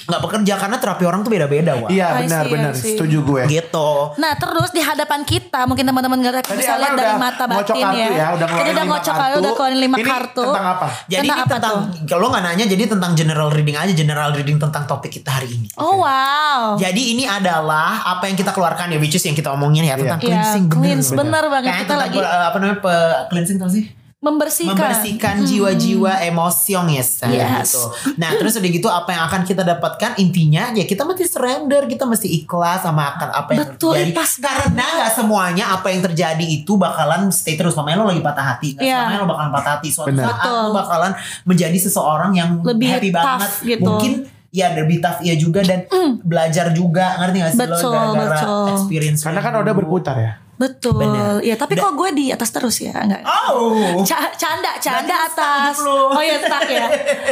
[SPEAKER 1] nggak bekerja karena terapi orang tuh beda-beda wah
[SPEAKER 4] I
[SPEAKER 3] iya
[SPEAKER 4] see,
[SPEAKER 3] benar
[SPEAKER 4] I
[SPEAKER 3] benar
[SPEAKER 4] see.
[SPEAKER 3] setuju gue
[SPEAKER 1] gitu
[SPEAKER 4] Nah terus di hadapan kita mungkin teman-teman nggak
[SPEAKER 3] Tadi
[SPEAKER 4] bisa
[SPEAKER 3] Amel
[SPEAKER 4] lihat dari
[SPEAKER 3] udah
[SPEAKER 4] mata
[SPEAKER 3] ngocok
[SPEAKER 4] batin ya.
[SPEAKER 3] kartu ya,
[SPEAKER 4] Jadi
[SPEAKER 3] udah ngeluarin
[SPEAKER 4] udah
[SPEAKER 3] lima
[SPEAKER 4] ngocok kartu,
[SPEAKER 3] kartu.
[SPEAKER 4] udah keluarin lima
[SPEAKER 3] Ini
[SPEAKER 4] kartu.
[SPEAKER 3] tentang apa?
[SPEAKER 1] Jadi
[SPEAKER 4] Tentang
[SPEAKER 1] ini
[SPEAKER 4] apa
[SPEAKER 1] tentang
[SPEAKER 4] tuh?
[SPEAKER 1] kalau nggak nanya jadi tentang general reading aja general reading tentang topik kita hari ini.
[SPEAKER 4] Oh wow.
[SPEAKER 1] Jadi ini adalah apa yang kita keluarkan ya which is yang kita omongin ya tentang
[SPEAKER 4] Iya,
[SPEAKER 1] cleansing bener.
[SPEAKER 4] cleanse, bener banget.
[SPEAKER 1] Kayaknya
[SPEAKER 4] Kita
[SPEAKER 1] tentang,
[SPEAKER 4] lagi
[SPEAKER 1] eh, apa namanya pe- cleansing tau sih?
[SPEAKER 4] membersihkan. Hmm.
[SPEAKER 1] Membersihkan jiwa-jiwa emosiong ya
[SPEAKER 4] Yes.
[SPEAKER 1] gitu. Nah, terus udah gitu apa yang akan kita dapatkan intinya ya kita mesti surrender, kita mesti ikhlas sama akan apa yang
[SPEAKER 4] Betul,
[SPEAKER 1] terjadi.
[SPEAKER 4] pas
[SPEAKER 1] Karena nggak semuanya apa yang terjadi itu bakalan stay terus. Namanya lo lagi patah hati, nggak
[SPEAKER 4] Iya.
[SPEAKER 1] selamanya lo bakalan patah hati. Suatu
[SPEAKER 3] Benar.
[SPEAKER 1] saat
[SPEAKER 4] Betul.
[SPEAKER 1] lo bakalan menjadi seseorang yang
[SPEAKER 4] Lebih
[SPEAKER 1] happy
[SPEAKER 4] tough
[SPEAKER 1] banget.
[SPEAKER 4] gitu. Mm.
[SPEAKER 1] Mungkin ya lebih tough iya juga dan belajar juga ngerti gak sih
[SPEAKER 4] Betul,
[SPEAKER 1] lo gara-gara
[SPEAKER 4] betul.
[SPEAKER 1] experience gitu.
[SPEAKER 3] karena kan
[SPEAKER 1] lo
[SPEAKER 3] udah
[SPEAKER 1] dulu.
[SPEAKER 3] berputar ya
[SPEAKER 4] Betul.
[SPEAKER 1] Bener.
[SPEAKER 4] Ya tapi
[SPEAKER 1] Da-
[SPEAKER 4] kok gue di atas terus ya enggak.
[SPEAKER 1] Oh,
[SPEAKER 4] Ca- canda, canda
[SPEAKER 1] Berarti stuck
[SPEAKER 4] atas.
[SPEAKER 1] hidup lu.
[SPEAKER 4] Oh ya stuck ya.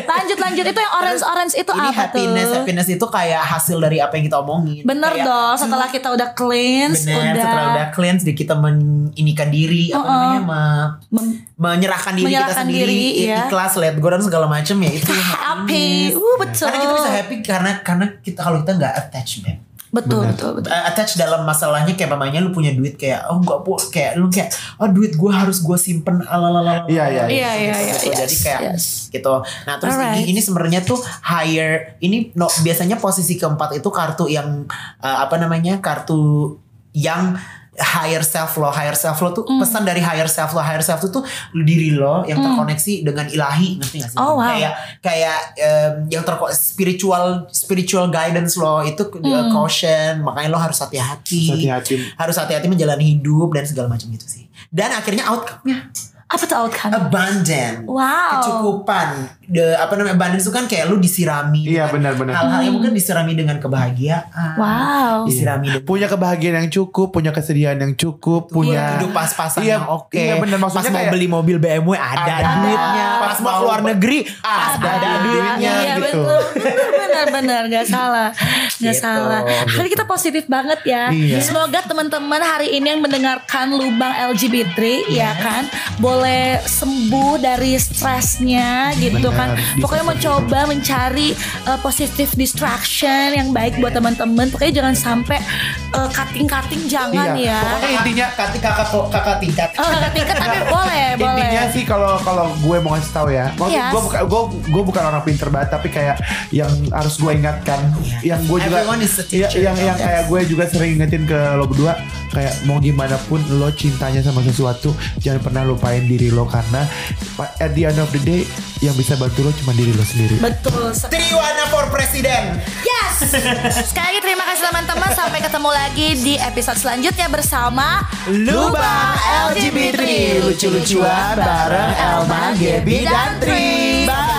[SPEAKER 4] Lanjut lanjut itu yang orange orange itu
[SPEAKER 1] ini
[SPEAKER 4] apa
[SPEAKER 1] happiness
[SPEAKER 4] tuh?
[SPEAKER 1] happiness itu kayak hasil dari apa yang kita omongin.
[SPEAKER 4] Bener
[SPEAKER 1] Kayak
[SPEAKER 4] dong setelah kita udah cleanse
[SPEAKER 1] Bener,
[SPEAKER 4] udah,
[SPEAKER 1] setelah udah cleanse di kita menginikan diri apa namanya me-
[SPEAKER 4] Mem-
[SPEAKER 1] menyerahkan diri kita
[SPEAKER 4] Menyerahkan
[SPEAKER 1] sendiri,
[SPEAKER 4] diri,
[SPEAKER 1] i-
[SPEAKER 4] ya.
[SPEAKER 1] ikhlas let go dan segala macam ya
[SPEAKER 4] [laughs]
[SPEAKER 1] itu
[SPEAKER 4] happy.
[SPEAKER 1] happiness.
[SPEAKER 4] Uh, betul.
[SPEAKER 1] Karena kita bisa happy karena karena kita kalau kita nggak attachment.
[SPEAKER 4] Betul, betul, betul.
[SPEAKER 1] attach dalam masalahnya kayak mamanya lu punya duit kayak oh nggak bu kayak lu kayak oh duit gue harus gue simpen alalalala
[SPEAKER 3] Iya, iya, iya.
[SPEAKER 4] Iya, iya, iya,
[SPEAKER 1] Gitu. jadi
[SPEAKER 4] yes,
[SPEAKER 1] kayak
[SPEAKER 4] yes.
[SPEAKER 1] gitu nah terus
[SPEAKER 4] Alright.
[SPEAKER 1] ini, ini sebenarnya tuh higher ini no, biasanya posisi keempat itu kartu yang eh, apa namanya kartu yang higher self lo higher self lo tuh
[SPEAKER 4] Mm.
[SPEAKER 1] pesan dari higher self lo higher self lo tuh diri lo yang terkoneksi dengan ilahi ngerti gak sih
[SPEAKER 4] Oh, wow.
[SPEAKER 1] kayak kayak em, yang terko spiritual spiritual guidance lo itu ke- eh,
[SPEAKER 4] Hmm.
[SPEAKER 1] caution makanya lo harus hati-hati
[SPEAKER 3] Hati-hati.
[SPEAKER 1] harus hati-hati menjalani hidup dan segala macam gitu sih dan akhirnya outcome-nya
[SPEAKER 4] Apa tuh outcome?
[SPEAKER 1] abundant
[SPEAKER 4] Hmm. Wow.
[SPEAKER 1] kecukupan The, apa namanya abundance itu kan kayak lu disirami
[SPEAKER 3] Iya,
[SPEAKER 1] dengan
[SPEAKER 3] benar-benar.
[SPEAKER 1] hal-hal yang mungkin disirami dengan kebahagiaan
[SPEAKER 4] Hmm. Wow.
[SPEAKER 1] disirami dengan
[SPEAKER 3] punya kebahagiaan yang cukup, punya kesediaan yang
[SPEAKER 4] Iya.
[SPEAKER 3] cukup, punya
[SPEAKER 1] hidup pas-pasan
[SPEAKER 3] Iya,
[SPEAKER 1] yang oke.
[SPEAKER 3] Iya benar maksudnya
[SPEAKER 1] pas mau
[SPEAKER 3] kayak-
[SPEAKER 1] beli mobil BMW ada,
[SPEAKER 3] Ada.
[SPEAKER 1] duitnya. Pas, mau keluar negeri ada,
[SPEAKER 3] ada
[SPEAKER 1] duitnya
[SPEAKER 4] iya,
[SPEAKER 1] gitu.
[SPEAKER 4] betul. Benar-benar gak salah, gak salah. Hari kita positif banget ya.
[SPEAKER 3] Gitu. Iya.
[SPEAKER 4] Semoga teman-teman hari ini yang mendengarkan lubang LGBT ya
[SPEAKER 3] Iya.
[SPEAKER 4] kan, boleh sembuh dari stresnya gitu kan.
[SPEAKER 3] Benar.
[SPEAKER 4] Pokoknya mencoba mencari uh, positive distraction yang baik buat teman-teman. Pokoknya jangan sampai uh, cutting-cutting jangan
[SPEAKER 3] Iya.
[SPEAKER 4] ya.
[SPEAKER 3] Pokoknya intinya
[SPEAKER 1] Kakak kakak kakak tingkat.
[SPEAKER 4] Oh, cutting-cutting tapi boleh, boleh.
[SPEAKER 3] [laughs] Intinya sih kalau kalau gue mau ngasih tahu ya, maksud
[SPEAKER 4] Yes.
[SPEAKER 3] gue buka- gue gue bukan orang pinter banget tapi kayak yang harus gue ingatkan, yang gue juga
[SPEAKER 1] Iya. Everyone is a teacher.
[SPEAKER 3] ya- yang yang kayak gue juga sering ingetin ke lo berdua kayak mau gimana pun lo cintanya sama sesuatu jangan pernah lupain diri lo karena at the end of the day yang bisa bantu lo cuma diri lo sendiri.
[SPEAKER 4] Betul. sekali.
[SPEAKER 1] Triwana for president.
[SPEAKER 4] Yes. Sekali lagi terima kasih teman-teman. Sampai ketemu lagi di episode selanjutnya bersama
[SPEAKER 1] Lubang LGBT. Lucu-lucuan bareng Elma, Gaby, dan Tri. Bye.